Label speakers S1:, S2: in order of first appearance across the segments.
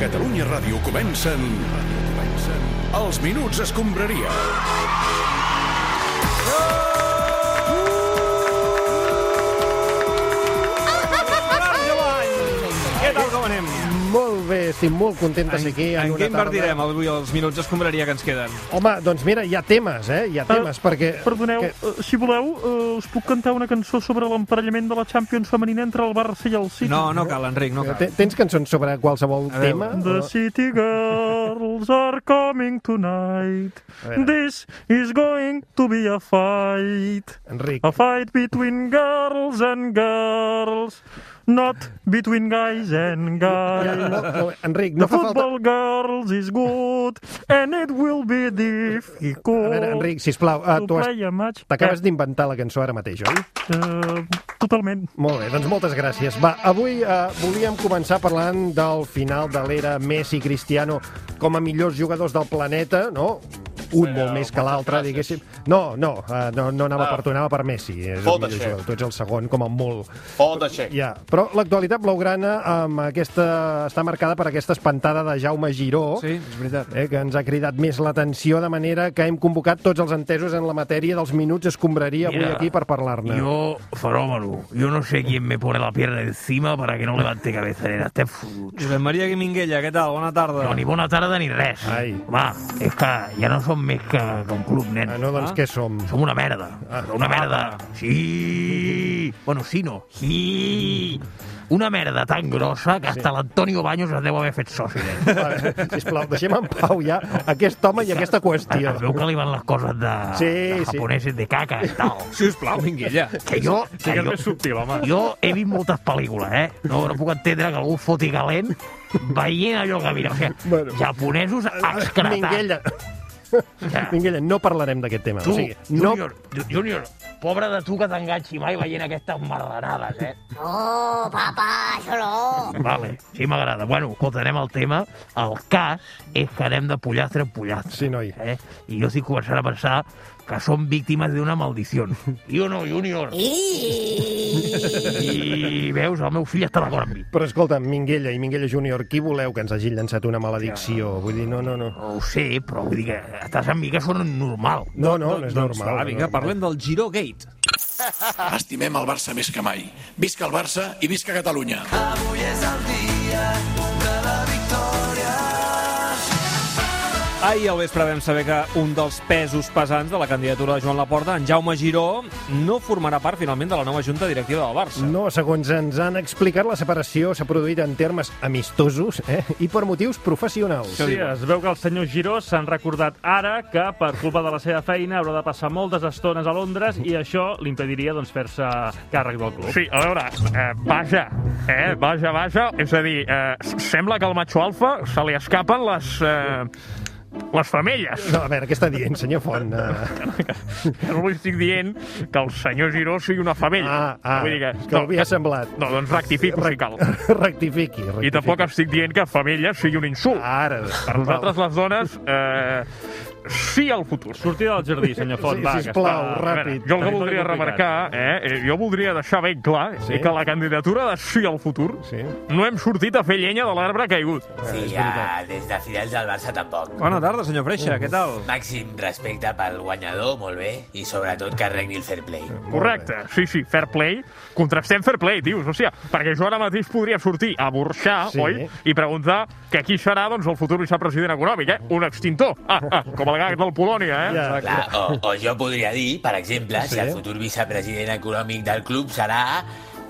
S1: Catalunya Ràdio comencen... comencen... Els Minuts Escombraria.
S2: Què tal, com anem?
S3: Molt bé, estic molt content de ser aquí.
S2: en
S3: una
S2: què
S3: tarda.
S2: invertirem avui els minuts d'escombraria que ens queden?
S3: Home, doncs mira, hi ha temes, eh? Hi ha temes, perquè...
S4: Ah, Perdoneu,
S3: Que...
S4: eh, si voleu, eh, us puc cantar una cançó sobre l'emparellament de la Champions femenina entre el Barça i el City.
S2: No, no cal, Enric, no
S3: Te-
S2: cal.
S3: Eh, Tens cançons sobre qualsevol
S2: A veure.
S3: tema?
S4: The
S3: O-
S4: City Girls are coming tonight.
S3: A veure.
S4: This is going to be a fight.
S3: Enric,
S4: A fight between girls and girls. Not between guys and
S3: no,
S4: guys.
S3: no, Enric,
S4: The
S3: no fa falta...
S4: football girls is good and it will be difficult
S3: A veure, Enric, sisplau, uh,
S4: to
S3: tu has...
S4: play a match.
S3: t'acabes d'inventar la cançó ara mateix, oi?
S4: Eh, totalment.
S3: Molt bé, doncs moltes gràcies. Va, avui eh, volíem començar parlant del final de l'era Messi-Cristiano com a millors jugadors del planeta, no? Un molt més que l'altre, diguéssim. No, no, eh, no, no anava per tu, anava per Messi. És el
S5: Fot
S3: millor
S5: això.
S3: jugador. Tu ets el segon, com a molt.
S5: Pot aixec.
S3: Ja, però l'actualitat blaugrana amb aquesta, està marcada per aquesta espantada de Jaume Giró,
S2: Sí, és veritat.
S3: eh, que ens ha cridat més l'atenció, de manera que hem convocat tots els entesos en la matèria dels minuts escombraria avui
S6: Mira,
S3: aquí per parlar-ne.
S6: Yo, fenómeno, yo no sé quién me pone la pierna encima para que no levante cabeza, nena. Este fut-
S2: Josep Maria Guiminguella, què tal? Bona tarda.
S6: No, ni buena tarde ni res.
S3: Ai.
S6: Va, es que ja no som més que, que un club, nen.
S3: Ah, no, doncs
S2: Ah.
S3: què som? Ah.
S6: Som una merda. Però una merda. Sí. Bueno, sí no. Sí. Una merda tan grossa que hasta l'Antonio Baños es deu haver fet soci. eh. nen.
S3: Va, sisplau, deixem en pau ja aquest home i aquesta qüestió.
S6: Es veu que li van les coses de,
S3: Sí,
S6: de
S3: sí.
S6: japoneses de caca i tal.
S2: Si us plau, Minguella.
S6: Que jo... Que jo, subtil, home. Jo he vist moltes pel·lícules, eh? No, no puc entendre que algú foti calent veient allò que mira. O sigui,
S3: Bueno. Ah,
S6: bueno. japonesos excretant.
S3: Minguella,
S6: Ja.
S3: Minguella, no parlarem d'aquest tema.
S6: Tu,
S3: o sigui, no...
S6: júnior, Ju- júnior, pobre de tu que t'enganxi mai veient aquestes mardanades, eh?
S7: No, papà, Oh, això no.
S6: Vale, sí m'agrada. Bueno, escolta, anem al tema. El cas és que anem de pollastre en pollastre.
S3: Sí, noi.
S6: Eh? I jo estic començant a pensar que som víctimes d'una maldició. Jo no, júnior.
S7: I...
S6: I veus, el meu fill està d'acord amb mi.
S3: Però escolta, Minguella i Minguella Júnior, qui voleu que ens hagi llançat una maledicció? Vull dir, no, no, no.
S6: No ho sé, però vull dir que estàs amb mi que sona normal.
S3: No, no, no és
S2: Doncs
S3: normal.
S2: va, vinga,
S3: no.
S2: parlem del Giro Gate.
S1: Estimem el Barça més que mai. Visca el Barça i visca Catalunya.
S2: Ahir al vespre vam saber que un dels pesos pesants de la candidatura de Joan Laporta, en Jaume Giró, no formarà part finalment de la nova junta directiva del Barça.
S3: No, segons ens han explicat, la separació s'ha produït en termes amistosos eh? i per motius professionals.
S4: Sí, es veu que el senyor Giró s'han recordat ara que, per culpa de la seva feina, haurà de passar moltes estones a Londres i això li impediria doncs, fer-se càrrec del club.
S8: Sí, a veure, eh, vaja, eh, vaja, vaja, és a dir, eh, s- sembla que al macho alfa se li escapen les... Eh, les femelles.
S3: No, a veure, què està dient, senyor Font? Uh,
S8: No li estic dient que el senyor Giró sigui una femella.
S3: ah, ah,
S8: Vull dir que,
S3: que ho havia semblat.
S8: no, doncs rectifico si cal.
S3: Rectifiqui, rectifiqui.
S8: I tampoc estic dient que femella sigui un insult.
S3: Ara,
S8: Per nosaltres, les dones, eh, sí al futur.
S4: Sortir del jardí, senyor Font,
S3: Sí,
S4: va,
S3: sisplau,
S4: que està...
S8: A veure, Jo el que
S3: ràpid.
S4: Territori
S8: voldria
S4: complicat.
S8: remarcar, eh, eh, jo voldria deixar ben clar
S3: Sí.
S8: sí. que la candidatura de sí al futur
S3: Sí.
S8: no hem sortit a fer llenya de l'arbre caigut.
S9: Sí, ja, des de finals del Barça tampoc.
S2: Bona tarda, senyor Freixa, què tal?
S9: Màxim respecte pel guanyador, molt bé, i sobretot que regni el fair play.
S8: Correcte, sí, sí, fair play. Contrastem fair play, tios, o sigui, perquè jo ara mateix podria sortir a burxar, sí.
S3: Sí.
S8: oi? I preguntar que qui serà, doncs, el futur vicepresident econòmic, eh? Un extintor, ah, ah, com el gag del Polònia, eh?
S3: Ja.
S9: Clar, o, o jo podria dir, per exemple, sí. si el futur vicepresident econòmic del club serà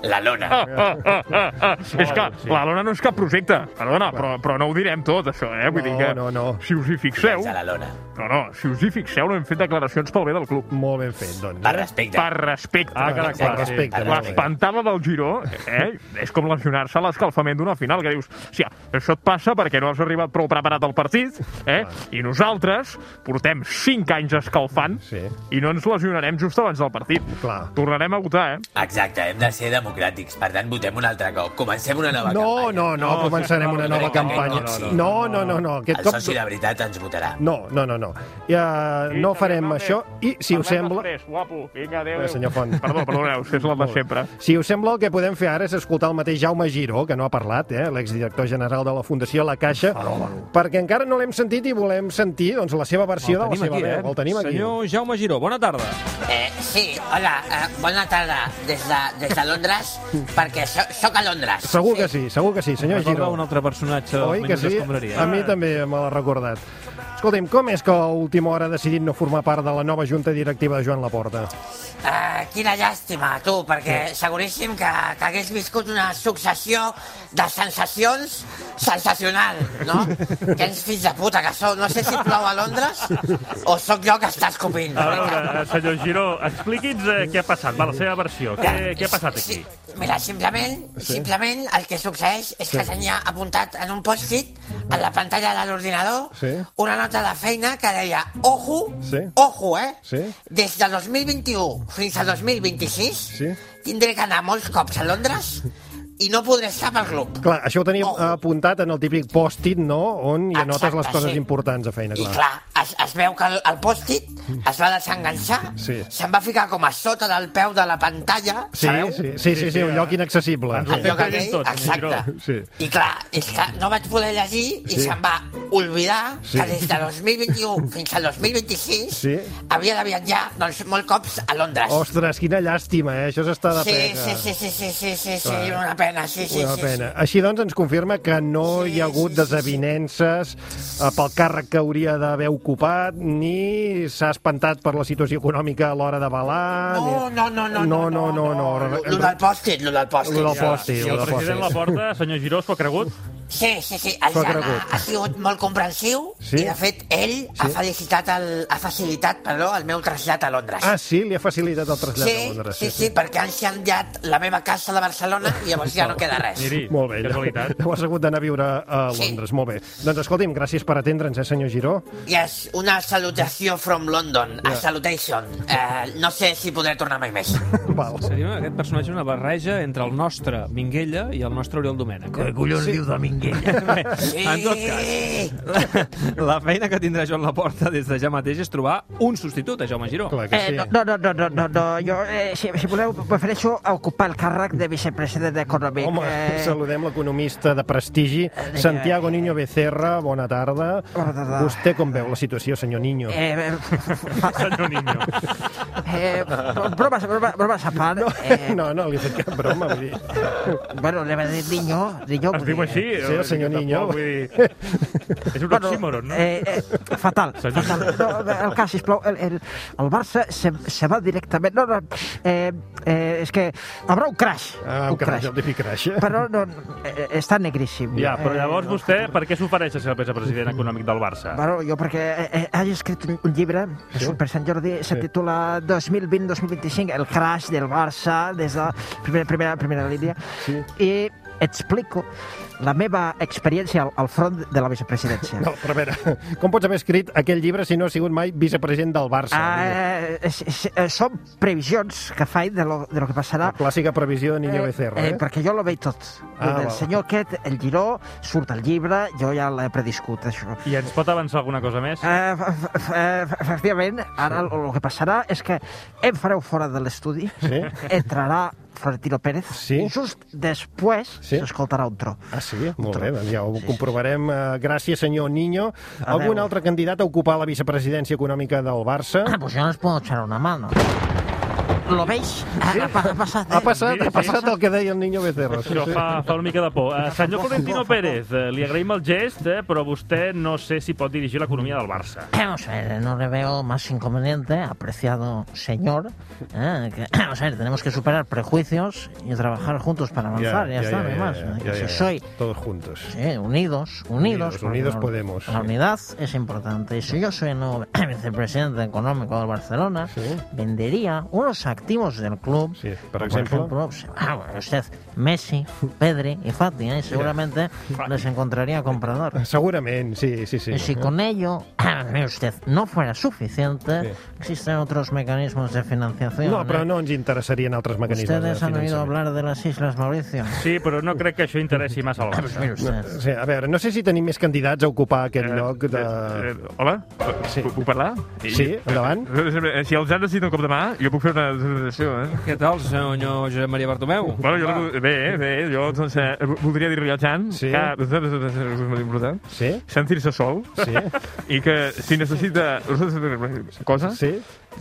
S9: la lona.
S8: Ah, ah, ah, ah, ah. És que la lona no és cap projecte, perdona, però, però no ho direm tot, això, eh? Vull dir
S3: No,
S8: que,
S3: no, no.
S8: si us hi fixeu,
S9: És a la lona.
S8: no, no, si us hi fixeu, no hem fet declaracions pel bé del club.
S3: Molt ben fet, doncs.
S9: Per respecte.
S8: Per respecte.
S4: Ah, clar,
S3: Per
S4: clar. sí.
S3: respecte,
S9: Per
S3: molt bé.
S8: L'espantada del Giró eh, és com lesionar-se a l'escalfament d'una final, que dius, hòstia, això et passa perquè no has arribat prou preparat al partit, eh? i nosaltres portem 5 anys escalfant
S3: Sí.
S8: i no ens lesionarem just abans del partit.
S3: Clar.
S8: Tornarem a votar, eh?
S9: Exacte, hem de ser democràtics, per tant, votem un altre cop. Comencem una nova
S3: No,
S9: campanya.
S3: no, no,
S2: No,
S3: començarem
S2: sisplau,
S3: una
S2: no,
S3: nova
S2: no,
S3: campanya.
S9: no,
S3: No, no, no, no, aquest
S9: El
S3: cop...
S9: soci de veritat ens votarà.
S3: No, no, no, no. Ja, no farem això
S6: eh,
S3: i, si us sembla...
S8: guapo. Vinga, adéu.
S3: Eh, senyor Font.
S8: Perdó, perdoneu, és la de sempre.
S3: Si us sembla, el que podem fer ara és escoltar el mateix Jaume Giró, que no ha parlat, eh, l'exdirector general de la Fundació La Caixa, perquè encara no l'hem sentit i volem sentir doncs, la seva versió de la seva veu. El tenim aquí.
S2: eh? Senyor Jaume Giró, bona tarda.
S7: Eh, sí, hola, eh, bona tarda des de, des de Londres, perquè so, soc a Londres.
S3: Segur que sí, segur que sí, senyor
S2: Recorda
S3: Giró.
S2: un altre personatge dels
S3: Oi que
S2: Menuts
S3: sí?
S2: Escombraria.
S3: A mi també me l'ha recordat. Escolta'm, com és que a última hora ha decidit no formar part de la nova junta directiva de Joan Laporta?
S7: Eh, quina llàstima, tu, perquè seguríssim que, que hagués viscut una successió de sensacions sensacional, no? Quins fills de puta que sou. No sé si plou a Londres o sóc jo que està escopint.
S4: A veure, eh, senyor Giró, expliqui'ns eh, què ha passat, va, la seva versió. Què, què ha passat aquí?
S7: Sí, mira, simplement, simplement el que succeeix és que tenia apuntat en un post-it a la pantalla de l'ordinador
S3: Sí.
S7: una nota de feina que deia ojo,
S3: Sí.
S7: ojo, eh?
S3: Sí.
S7: Des de 2021 fins al 2026
S3: Sí.
S7: tindré que anar molts cops a Londres i no podré estar pel club.
S3: Clar, això ho teníem
S7: Oh.
S3: apuntat en el típic post-it, no?, on hi anotes
S7: Exacte,
S3: les coses
S7: sí.
S3: importants a feina,
S7: I
S3: clar.
S7: clar, es, es veu que el, el post-it es va desenganxar,
S3: Sí.
S7: se'n va ficar com a sota del peu de la pantalla,
S3: Sí,
S7: sabeu?
S3: sí, sí, sí, sí, un lloc inaccessible.
S4: Ens ho
S7: El lloc
S4: Estem
S7: aquell,
S4: tots,
S7: exacte.
S3: Sí.
S7: I clar, és que no vaig poder llegir i
S3: Sí.
S7: se'm va oblidar
S3: Sí.
S7: que des de 2021 fins al 2026
S3: Sí.
S7: havia de viatjar doncs, molt cops a Londres.
S3: Ostres, quina llàstima, eh? Això s'està de
S7: sí,
S3: pena.
S7: sí, sí, sí, sí, sí, sí, sí,
S3: Clar.
S7: una pena, sí, sí,
S3: Una
S7: sí,
S3: pena. Així doncs ens confirma que no
S7: Sí,
S3: hi ha hagut
S7: sí, sí, sí.
S3: desavinences eh, pel càrrec que hauria d'haver ocupat, ni s'ha espantat per la situació econòmica a l'hora de
S7: sí.
S3: balar...
S7: No,
S3: ni...
S7: no, no, no,
S3: No, no, no, no.
S7: Lo lo del pòstit, lo del pòstit.
S3: Lo del pòstit,
S4: I
S3: lo
S4: el
S3: del
S4: president
S3: pòstit.
S4: Laporta, senyor Giró, s'ho ha cregut?
S7: Sí, sí, sí, el
S3: S'ho ha
S7: Jan ha,
S3: cregut.
S7: ha sigut molt comprensiu
S3: Sí?
S7: i, de fet, ell ha, felicitat el, ha facilitat perdó, el meu trasllat a Londres.
S3: Ah, sí? Li ha facilitat el trasllat a
S7: Sí,
S3: Londres.
S7: sí, sí, perquè han canviat la meva casa de Barcelona i llavors ja no queda res.
S4: Miri,
S3: Molt bé,
S4: casualitat.
S3: Heu hagut d'anar a viure a
S7: Sí.
S3: Londres, molt bé. Doncs escolti'm, gràcies per atendre'ns, eh, senyor Giró?
S7: I és una salutació from London, a salutation. Eh, no sé si podré tornar mai més.
S3: Val.
S2: Seria aquest personatge una barreja entre el nostre Minguella i el nostre Oriol Domènech. eh?
S6: Què collons diu de Minguella?
S7: Sí.
S2: En tot cas, la, la feina que tindrà Joan Laporta des de ja mateix és trobar un substitut a Jaume Giró.
S3: Clar que
S5: Eh,
S3: sí.
S5: no, no, no, no, no, no, jo, eh, si, si voleu, prefereixo ocupar el càrrec de vicepresident econòmic.
S3: Home,
S5: eh,
S3: saludem l'economista de prestigi, Santiago Niño Becerra, bona tarda.
S5: Bona tarda.
S3: Vostè com veu la situació, senyor Niño?
S5: eh,
S4: Senyor Niño.
S5: eh, bromes, bromes, bromes a part.
S3: No,
S5: Eh,
S3: no, no li he fet cap broma, vull dir...
S5: Bueno, li va dir niño, niño.
S4: Es
S5: vull
S4: diu
S5: dir,
S4: així?
S3: Sí, el senyor
S4: Tampoc,
S3: Niño.
S4: Vull dir, és un
S5: Bueno,
S4: oxímoron, no?
S5: eh, eh, fatal,
S4: Senyor.
S5: fatal. No, el cas, sisplau, el, el, el Barça se, se va directament... No, no, eh, eh, és que haurà un crash.
S3: Ah, un crash, el típic crash. eh?
S5: Però no, eh, eh, està negríssim.
S4: Ja, però
S5: Eh,
S4: llavors vostè, per què s'ofereix a ser el vicepresident econòmic del Barça?
S5: Bueno, jo perquè eh, eh, hagi escrit un, un llibre sí? per Sant Jordi, se titula 2020-2025, el crash del Barça des de la primera, primera, primera línia, sí. i explico la meva experiència al, al front de la vicepresidència.
S3: No, però a veure, com pots haver escrit aquell llibre si no has sigut mai vicepresident del Barça?
S5: Ah, eh, és- és- són previsions que faig de lo, de lo que passarà.
S3: La clàssica previsió de Niño
S5: Eh,
S3: Becerra,
S5: eh,
S3: eh?
S5: perquè jo la veig tot.
S3: Ah,
S5: Ah, el
S3: val.
S5: senyor aquest, el Giró, surt al llibre, jo ja l'he prediscut, això.
S4: I ens pot avançar alguna cosa més?
S5: Eh, f- f- eh, f- Efectivament, ara el, el que passarà és que em fareu fora de l'estudi,
S3: Sí?
S5: entrarà Florentino Pérez,
S3: Sí.
S5: i just després
S3: Sí.
S5: s'escoltarà un tro.
S3: Ah, sí? Molt bé, doncs ja ho comprovarem. Eh, Gràcies, senyor Niño.
S5: Adeu.
S3: Algun altre candidat a ocupar la vicepresidència econòmica del Barça?
S6: Ah, pues yo no os puedo echar una mano.
S5: Lo veis? Ha, ha, pa- ha passat, eh?
S3: Ha passat, ha
S4: Sí, sí.
S3: passat el que deia el Niño Becerra. Sí,
S4: Això
S3: sí.
S4: fa, fa una mica de por. Eh, senyor Florentino Pérez, eh, li agraïm el gest, eh, però vostè no sé si pot dirigir l'economia del Barça.
S6: Vamos a ver, no le veo más inconveniente, apreciado señor. eh, que- vamos a ver, tenemos que superar prejuicios y trabajar juntos para avanzar. Ya, está, no hay más.
S3: ya,
S6: Que
S3: ya,
S6: si
S3: ya.
S6: soy
S3: Todos juntos.
S6: sí, unidos, unidos.
S3: Unidos, unidos
S6: porque
S3: podemos,
S6: La
S3: sí.
S6: unidad es importante. Y si yo soy el nuevo vicepresidente económico del Barcelona, vendería unos
S10: activos del club.
S3: Sí, por
S10: como
S3: ejemplo.
S10: pues, ah, bueno, usted, Messi, Pedri y Fati, ¿eh? seguramente les encontraría comprador.
S3: Segurament, sí, sí, sí.
S10: Y si con ello, mire usted, no fuera suficiente, existen otros mecanismos de financiación.
S3: No, però
S10: ¿eh?
S3: no ens interessarien altres mecanismes eh,
S10: Ustedes
S3: de
S10: han oído
S3: finançament.
S10: hablar de las Islas Mauricio.
S4: Sí, però no crec que això interessi massa a
S10: Ah, pues
S4: l'Olsa.
S10: mire usted.
S3: Sí, a veure, no sé si tenim més candidats a ocupar aquest lloc de...
S2: Eh, eh, hola?
S3: Sí.
S2: Sí. Puc parlar?
S3: Sí, endavant.
S2: Eh, Si els han decidit un cop de mà, jo puc fer una desordenació, eh?
S11: Què tal, senyor Josep Maria Bartomeu?
S2: Bueno, jo, la- bé, eh, bé, jo doncs, eh, voldria dir-li al Jan
S3: Sí.
S2: que és molt important,
S3: Sí,
S2: sentir-se sol
S3: sí,
S2: i que si necessita cosa,
S3: sí.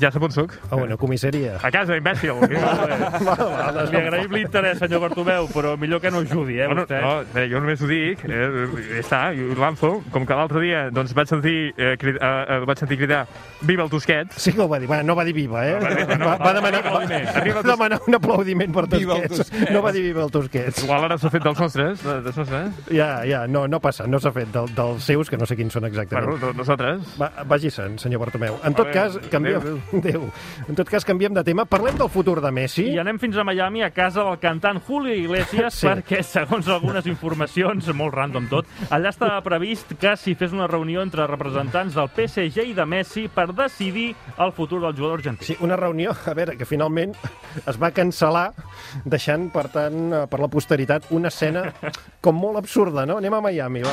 S2: ja sap on soc.
S3: A una comissaria.
S2: A casa, imbècil.
S4: Li agraïm l'interès, senyor Bartomeu, però millor que no ajudi, eh,
S2: Bueno,
S4: vostè.
S2: no, eh, jo només ho dic, eh, ja està, jo ho lanzo. Com que l'altre dia doncs, vaig, sentir, eh, crid, eh, eh, vaig sentir cridar Viva el Tusquets,
S3: Sí que ho va dir. Bueno, no va dir viva, eh?
S2: va- no,
S3: Va, va,
S2: va-
S3: demanar,
S2: arriba el Tusquets.
S3: va,
S2: Arriba
S3: va
S2: el
S3: demanar un aplaudiment per
S11: Viva el
S3: Tusquets.
S11: Tusquets.
S3: No va dir viva el Tusquets.
S2: igual ara s'ha fet dels nostres, de- dels nostres.
S3: Ja, ja, no, no passa, no s'ha fet del, dels seus, que no sé quins són
S2: Bueno,
S3: exactament.
S2: de- nosaltres.
S3: Va, Vagi-se'n, senyor Bartomeu. En tot
S2: Adéu,
S3: cas, canviem...
S2: adéu,
S3: Déu. En tot cas, canviem de tema. Parlem del futur de Messi.
S4: I anem fins a Miami, a casa del cantant Julio Iglesias, sí.
S3: Sí.
S4: perquè, segons algunes informacions, molt random tot, allà estava previst que s'hi fes una reunió entre representants del PSG i de Messi per decidir el futur del jugador argentí.
S3: Sí, una reunió, a veure, que finalment es va cancel·lar, deixant, per tant, eh, per la posteritat, una escena com molt absurda, no? Anem a Miami, va.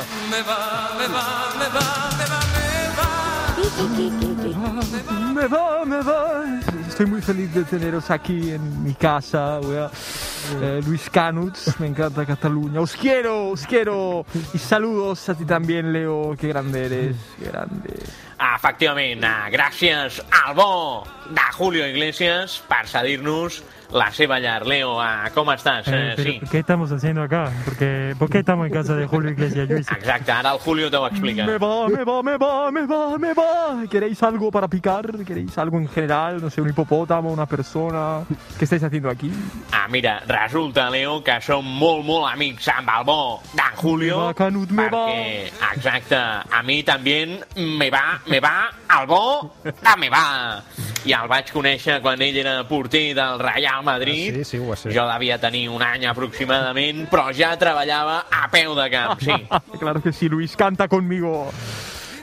S8: Me va, me va. Estoy muy feliz de teneros aquí en mi casa, weá. Eh, Luis Canuts, me encanta Cataluña. Os quiero, os quiero. Y saludos a ti también, Leo. Qué grande eres, qué grande.
S9: Efectivament, eh, gràcies al bo de Julio Iglesias per cedir-nos la seva llar. Leo, eh, com estàs? Eh, sí.
S8: ¿Qué estamos haciendo acá? Porque, ¿Por qué estamos en casa de Julio Iglesias, Luis?
S9: Exacte, ara el Julio t'ho explica.
S8: Me va, me va, me va, me va, me va. ¿Queréis algo para picar? ¿Queréis algo en general? No sé, un hipopótamo, una persona. ¿Qué estáis haciendo aquí?
S9: Ah, mira, resulta, Leo, que som molt, molt amics amb el bo d'en Julio.
S8: Me va, Canut, me va.
S9: perquè, Exacte, a mi també me va, me va, el bo de me va. I el vaig conèixer quan ell era porter del Real
S3: Ah,
S9: Madrid.
S3: sí, sí, ho va ser.
S9: Jo devia tenir un any aproximadament, però ja treballava a peu de camp, sí.
S8: Claro que sí, Luis, canta conmigo.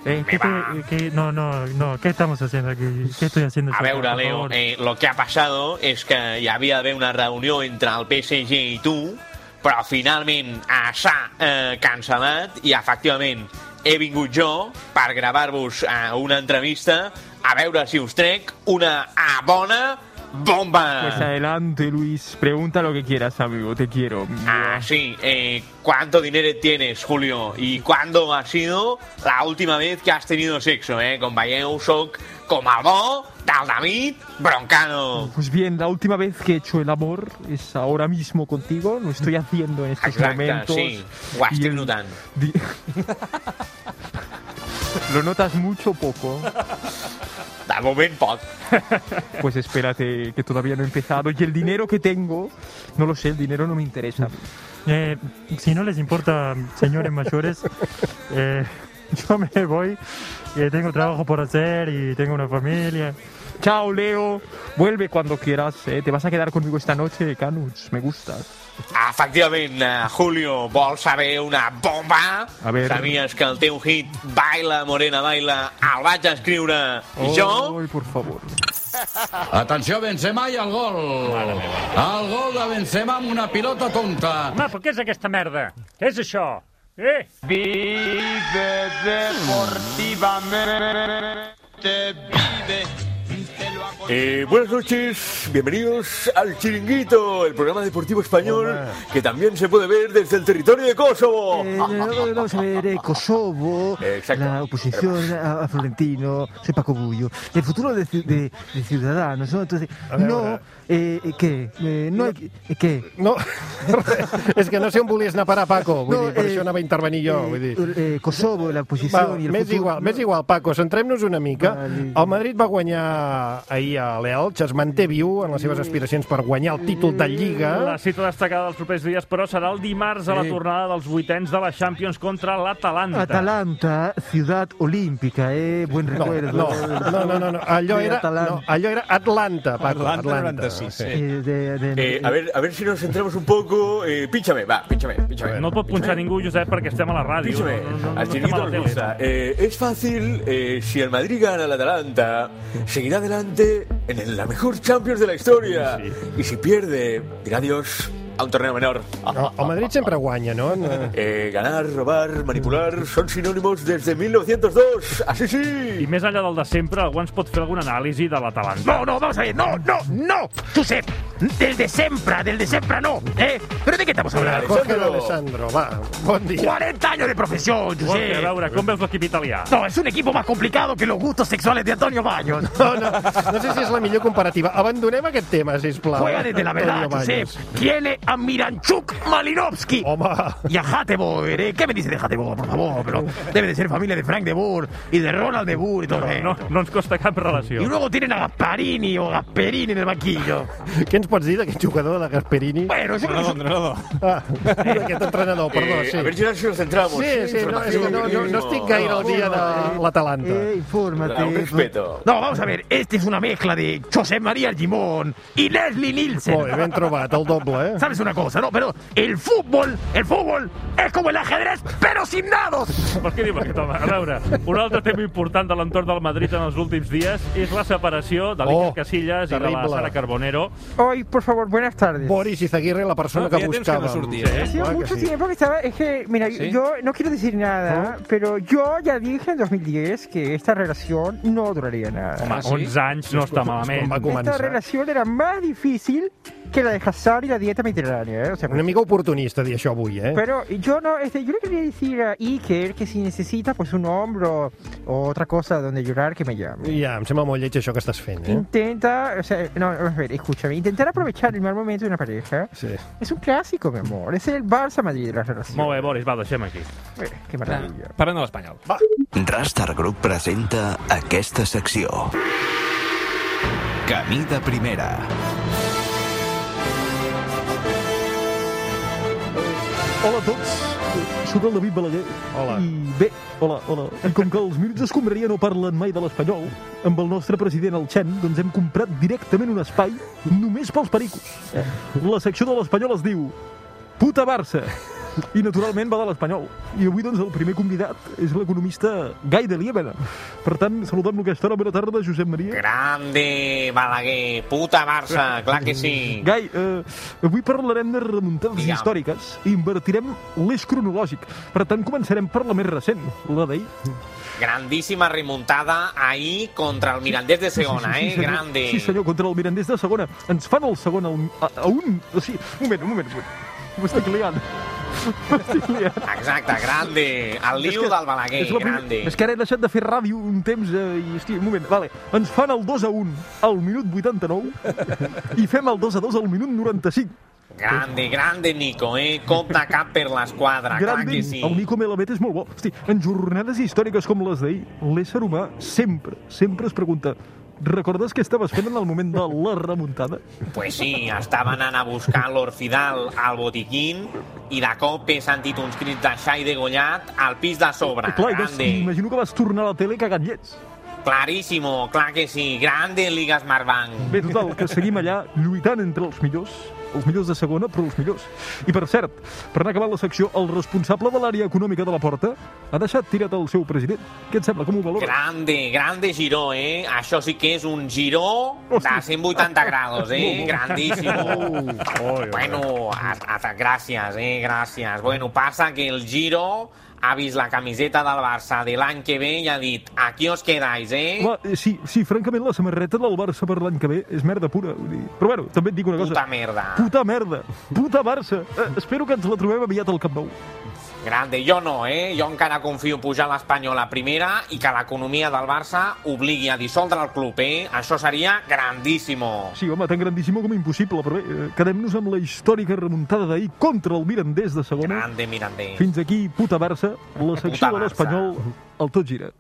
S8: Eh,
S9: Me va.
S8: no, no, no, ¿qué estamos haciendo aquí? ¿Qué estoy haciendo?
S9: A veure, Leo, eh, lo que ha pasado és que hi havia d'haver una reunió entre el PSG i tu, però finalment eh, s'ha eh, cancel·lat i, efectivament, he vingut jo per gravar-vos eh, una entrevista a veure si us trec una ah, bona
S8: Pues
S9: bomba.
S8: adelante, Luis. Pregunta lo que quieras, amigo. Te quiero.
S9: Ah, sí. Eh, ¿Cuánto dinero tienes, Julio? ¿Y cuándo ha sido la última vez que has tenido sexo, eh? Com veieu, soc com el bo del David Broncano.
S8: Pues bien, la última vez que he hecho el amor es ahora mismo contigo. Lo estoy haciendo en estos
S9: Exacto,
S8: momentos.
S9: sí. Guau,
S8: Y
S9: estoy
S8: el-
S9: notando.
S8: di- ¿Lo notas mucho o poco?
S9: De moment poc.
S8: Pues espérate, que todavía no he empezado. Y el dinero que tengo, no lo sé, el dinero no me interesa. Eh, si no les importa, señores mayores, Eh, yo me voy. tengo trabajo por hacer y tengo una familia. Chao, Leo. Vuelve cuando quieras. eh. Te vas a quedar conmigo esta noche, Canuts. Me gustas.
S9: Efectivament, eh, Julio, vols saber una bomba?
S8: A veure.
S9: Sabies que el teu hit Baila, Morena, Baila el vaig escriure jo?
S8: Ay, por favor.
S12: Atenció, Benzema i el gol. El gol de Benzema amb una pilota tonta.
S4: Home, però què és aquesta merda? Què és això? Eh?
S13: Eh, buenas noches, bienvenidos al Chiringuito, el programa deportivo español que también se puede ver desde el territorio de Kosovo.
S10: Eh, eh, vamos a ver, eh, Kosovo,
S13: Exacto.
S10: la oposición a, a Florentino, soy Paco Bullo, el futuro de, ci- de- de Ciudadanos, ¿no? Entonces,
S3: ver,
S10: no,
S3: ahora.
S10: eh, eh, ¿qué? Eh, no, hay- eh, ¿qué?
S3: No, és que no sé on volies anar a parar, Paco. Vull
S10: No,
S3: dir, per
S10: eh,
S3: això anava a intervenir jo.
S10: Eh,
S3: Vull dir.
S10: eh, Kosovo, la oposición
S3: Va,
S10: y el
S3: m'és
S10: futuro,
S3: igual,
S10: ¿no?
S3: m'és igual, Paco, centrem-nos una mica.
S10: Vale.
S3: El Madrid va guanyar ahir Sevilla. L'Elx es manté viu en les seves aspiracions per guanyar el títol de Lliga.
S4: La cita destacada dels propers dies, però, serà el dimarts a la
S3: Sí.
S4: tornada dels vuitens de la Champions contra l'Atalanta.
S14: Atalanta, ciudad olímpica, eh? Buen
S3: No,
S14: recuerdo.
S3: no, no, no, no, no. Allò,
S14: De
S3: era,
S14: Atalanta.
S3: no, allò era Atlanta, Paco.
S14: Atlanta,
S3: Atlanta,
S14: 96, sí.
S3: Eh,
S13: Eh, a, ver, a ver si nos centramos un poco. Eh, pínchame, va, pínchame, pínchame.
S4: No pot punxar ningú, Josep, perquè estem a la ràdio.
S13: Pínchame.
S4: No, no, no, no estem
S13: Al
S4: a
S13: chiringuito
S4: la
S13: nos
S4: tele.
S13: gusta. Eh, es fácil, eh, si el Madrid gana al Atalanta, seguirá adelante en el- la mejor Champions de la historia. Y si pierde, dirá adiós a un torneo menor.
S3: No, el Madrid sempre guanya, no? No.
S13: Eh, ganar, robar, manipular son sinónimos desde 1902. Así sí.
S4: I més enllà del de sempre, algú ens pot fer alguna anàlisi de l'Atalanta.
S6: No, no, vamos a ver, no, no, no, Josep, desde siempre, desde siempre no, ¿eh? ¿Pero de qué estamos hablando?
S3: Jorge Alessandro, va, bon dia.
S6: 40 años de profesión,
S4: Jorge, a
S6: Josep.
S4: veure, com veus l'equip italià?
S6: No, es un equipo más complicado que los gustos sexuales de Antonio Baños.
S3: No, no, no sé si és la millor comparativa. Abandonem aquest tema, sisplau.
S6: Juega desde la verdad,
S3: Antonio
S6: Josep.
S3: Baños.
S6: Tiene a Miranchuk Malinovsky. Y a Hateboer, ¿eh? ¿Qué me dice de Hateboer, por favor? Pero debe de ser familia de Frank de Boer y de Ronald de Boer y todo
S4: No,
S6: eso.
S4: no ens costa cap
S6: Y
S4: relació.
S6: luego tienen a Gasparini o Gasperini en el banquillo.
S3: Què ens pots dir d'aquest jugador de Gasperini?
S6: Bueno, yo creo que...
S3: Ah, d'aquest entrenador, perdó,
S13: Eh,
S3: sí.
S13: a ver si ahora sí nos centramos.
S3: Sí, sí, no, és que no, no, no estic gaire al dia de
S6: eh,
S3: l'Atalanta.
S14: infórmate.
S13: Un
S10: pues.
S13: respeto.
S6: No, vamos a ver, este es una mezcla de José María Argimón y Leslie Nielsen.
S3: Molt bé, ben trobat, el doble, eh?
S6: ¿Sabes una cosa, no? Pero el fútbol, el fútbol es como el ajedrez, pero sin dados.
S4: Per què diu aquest home? A veure, un altre tema important de l'entorn del Madrid en els últims dies és la separació de l'Iker
S3: Oh,
S4: Casillas i de la
S3: terrible.
S4: Sara Carbonero.
S14: Hoy, por favor, buenas tardes.
S3: Boris Izaguirre, la persona
S15: Ah,
S3: que
S15: feia temps que no
S3: buscàvem.
S15: sortia, eh?
S14: Ha sido
S3: Clar que
S14: mucho
S3: sí.
S14: tiempo que estaba. Es que, mira,
S15: ¿Sí?
S14: yo no quiero decir nada, pero yo ya dije en 2010 que esta relación no duraría nada.
S4: Home, 11 anys no està malament.
S3: Com va
S14: Esta
S3: començar.
S14: relación era más difícil que la de Hazard y la dieta mediterránea. ¿eh? O sea,
S3: Una mica oportunista dir això avui, eh?
S14: Pero yo no, este, yo le quería decir a Iker que si necesita pues un hombro o otra cosa donde llorar que me llame.
S3: Ja, em sembla molt lleig això que estàs fent, eh?
S14: Intenta, o sea, no, a ver, escúchame, intentar aprovechar el mal momento de una pareja
S3: Sí.
S14: es un clásico, mi amor. Es el Barça Madrid de las
S4: Molt
S14: relaciones.
S4: bé, Boris, va, deixem aquí.
S14: Eh, Qué maravilla.
S15: Parlem de l'Espanyol.
S12: Rastar Group presenta aquesta secció. Camí de primera.
S14: Hola a tots, sóc el David Balaguer.
S3: Hola.
S14: I bé, hola, hola. I com que els minuts d'escombraria no parlen mai de l'espanyol, amb el nostre president, el Chen, doncs hem comprat directament un espai només pels pericos. La secció de l'espanyol es diu Puta Barça! I naturalment va de l'espanyol. I avui, doncs, el primer convidat és l'economista Gai de Liebena. Per tant, saludem-lo aquesta hora. Bona tarda, Josep Maria.
S9: Grande, Balaguer, puta Barça, clar que sí.
S14: Gai, eh, avui parlarem de remuntades
S9: Digue'm.
S14: històriques i invertirem l'eix cronològic. Per tant, començarem per la més recent, la d'ahir.
S9: Grandísima remuntada ahir contra el Mirandés de segona, eh?
S14: senyor.
S9: Grande.
S14: Sí, senyor, contra el Mirandés de segona. Ens fan el segon a, un- a, a un... O sigui, un moment, un moment, un moment. M'estic liant. M'estic liant.
S9: Exacte, grande. El
S14: És
S9: liu
S14: que-
S9: del Balaguer,
S14: és la primera-
S9: grande.
S14: És que ara he deixat de fer ràdio un temps eh, i, hosti, un moment, vale. Ens fan el 2 a 1 al minut 89 i fem el 2 a 2 al minut 95.
S9: Grande, grande, Nico, eh? Cop de cap per l'esquadra, clar
S14: Grande,
S9: que sí.
S14: el Nico Melamed és molt bo. Hosti, en jornades històriques com les d'ahir, l'ésser humà sempre, sempre es pregunta recordes què estaves fent en el moment de la remuntada?
S9: Pues sí, estava anant a buscar l'Orfidal al botiquín i de cop he sentit uns crits de xai degollat al pis de sobre.
S14: Eh, Clar, i vas,
S9: grande.
S14: imagino que vas tornar a la tele cagant llets.
S9: Claríssimo, clar que sí. Grande Liga Smartbank.
S14: Bé, total, que seguim allà lluitant entre els millors, els millors de segona, però els millors. I per cert, per anar acabant la secció, el responsable de l'àrea econòmica de la porta ha deixat tirat el seu president. Què et sembla? Com ho valora?
S9: Grande, grande giró, eh? Això sí que és un giró de
S14: Hosti.
S9: 180 grados, eh? Grandísimo. Bueno, a, a, gràcies, eh? Gràcies. Bueno, passa que el Giro ha vist la camiseta del Barça de l'any que ve i ha dit aquí os quedais, eh?
S14: Clar, eh, sí, sí, francament, la samarreta del Barça per l'any que ve és merda pura. Vull dir. Però bueno, també et dic una cosa.
S9: Puta merda.
S14: Puta merda! Puta Barça! Eh, espero que ens la trobem aviat al Camp Nou.
S9: Grande, jo no, eh? Jo encara confio pujar l'Espanyol a primera i que l'economia del Barça obligui a dissoldre el club, eh? Això seria grandíssimo.
S14: Sí, home, tan grandíssima com impossible, però bé, eh, quedem-nos amb la històrica remuntada d'ahir contra el Mirandés de segona.
S9: Grande, Mirandé.
S14: Fins aquí, puta Barça, la secció
S9: Puta
S14: de l'Espanyol, el tot gira.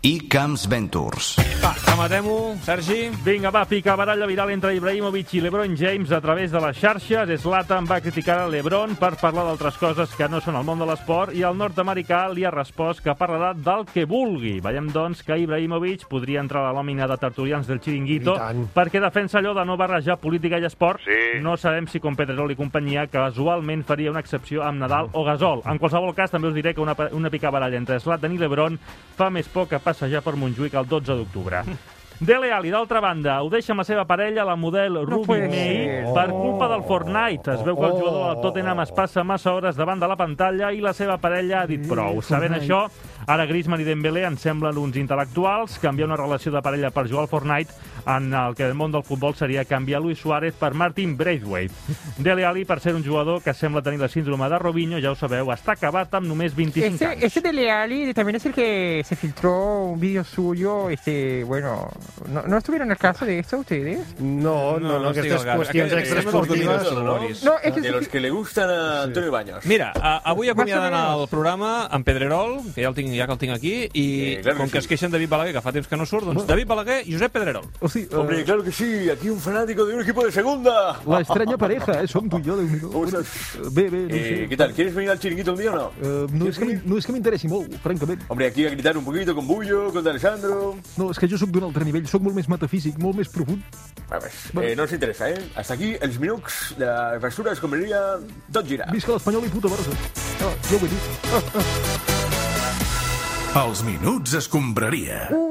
S12: i Camps Ventures.
S2: Va, rematem-ho, Sergi.
S4: Vinga, va, pica baralla viral entre Ibrahimovic i LeBron James a través de les xarxes. Zlatan va criticar a LeBron per parlar d'altres coses que no són el món de l'esport i el nord-americà li ha respost que parlarà del que vulgui. Veiem, doncs, que Ibrahimovic podria entrar a la lòmina de tertulians del Chiringuito perquè defensa allò de no barrejar política i esport. Sí. No sabem si com Pedrerol i companyia casualment faria una excepció amb Nadal o Gasol. En qualsevol cas, també us diré que una, pa- una pica baralla entre Zlatan i LeBron fa més por que passejar per Montjuïc el 12 d'octubre. Dele Alli, d'altra banda, ho deixa amb la seva parella, la model Ruby
S14: puede
S4: May,
S14: ser. Oh.
S4: per culpa del Fortnite. Es veu que el jugador del Tottenham es passa massa hores davant de la pantalla i la seva parella ha dit prou. Sabent
S14: Mm, Fortnite.
S4: això, ara Griezmann i Dembélé en semblen uns intel·lectuals. Canviar una relació de parella per jugar al Fortnite en el que el món del futbol seria canviar Luis Suárez per Martin Braithwaite. Dele Alli, per ser un jugador que sembla tenir la síndrome de Robinho, ja ho sabeu, està acabat amb només 25
S14: Este, este de Leali también es el que se filtró un vídeo suyo, este, bueno, ¿no, no estuvieron al caso de esto ustedes?
S3: No, no, no,
S2: no estic
S3: aquestes
S2: al cas.
S3: qüestions
S2: Aquest- aquestes
S3: extraesportives...
S2: oportunitats honoris.
S14: No, és que
S13: De los que le gustan a Antonio Baños.
S2: Mira, ah, a, avui acomiaden
S14: Barcelona.
S2: el programa amb Pedrerol, que ja el tinc, ja que el tinc aquí, i
S13: Eh, clar que
S2: com que
S13: sí.
S2: es queixen David Balaguer, que fa temps que no surt, doncs David Balaguer i Josep Pedrerol.
S15: Oh,
S13: Hombre, claro que sí, aquí un fanático de un equipo de segunda.
S15: La extraña pareja, eh, son tú y yo de unido.
S13: ¿Cómo estás?
S15: Bé, bé, no
S13: Eh,
S15: sé.
S13: ¿Qué tal? ¿Quieres venir al chiringuito un día o no?
S15: Eh, no, és que m'in- no és que m'interessi molt, francament.
S13: Hombre, aquí a gritar un poquito con Bullo, con Alessandro.
S15: No, és que jo sóc d'un altre nivell, sóc molt més metafísic, molt més profund.
S13: A ver, eh, no nos interesa, ¿eh? Hasta aquí els minuts de basura, escombraria, tot gira.
S15: Visca l'Espanyol i puta Barça. Ah, jo ho he dit. Ah, ah.
S16: Els minuts escombraria.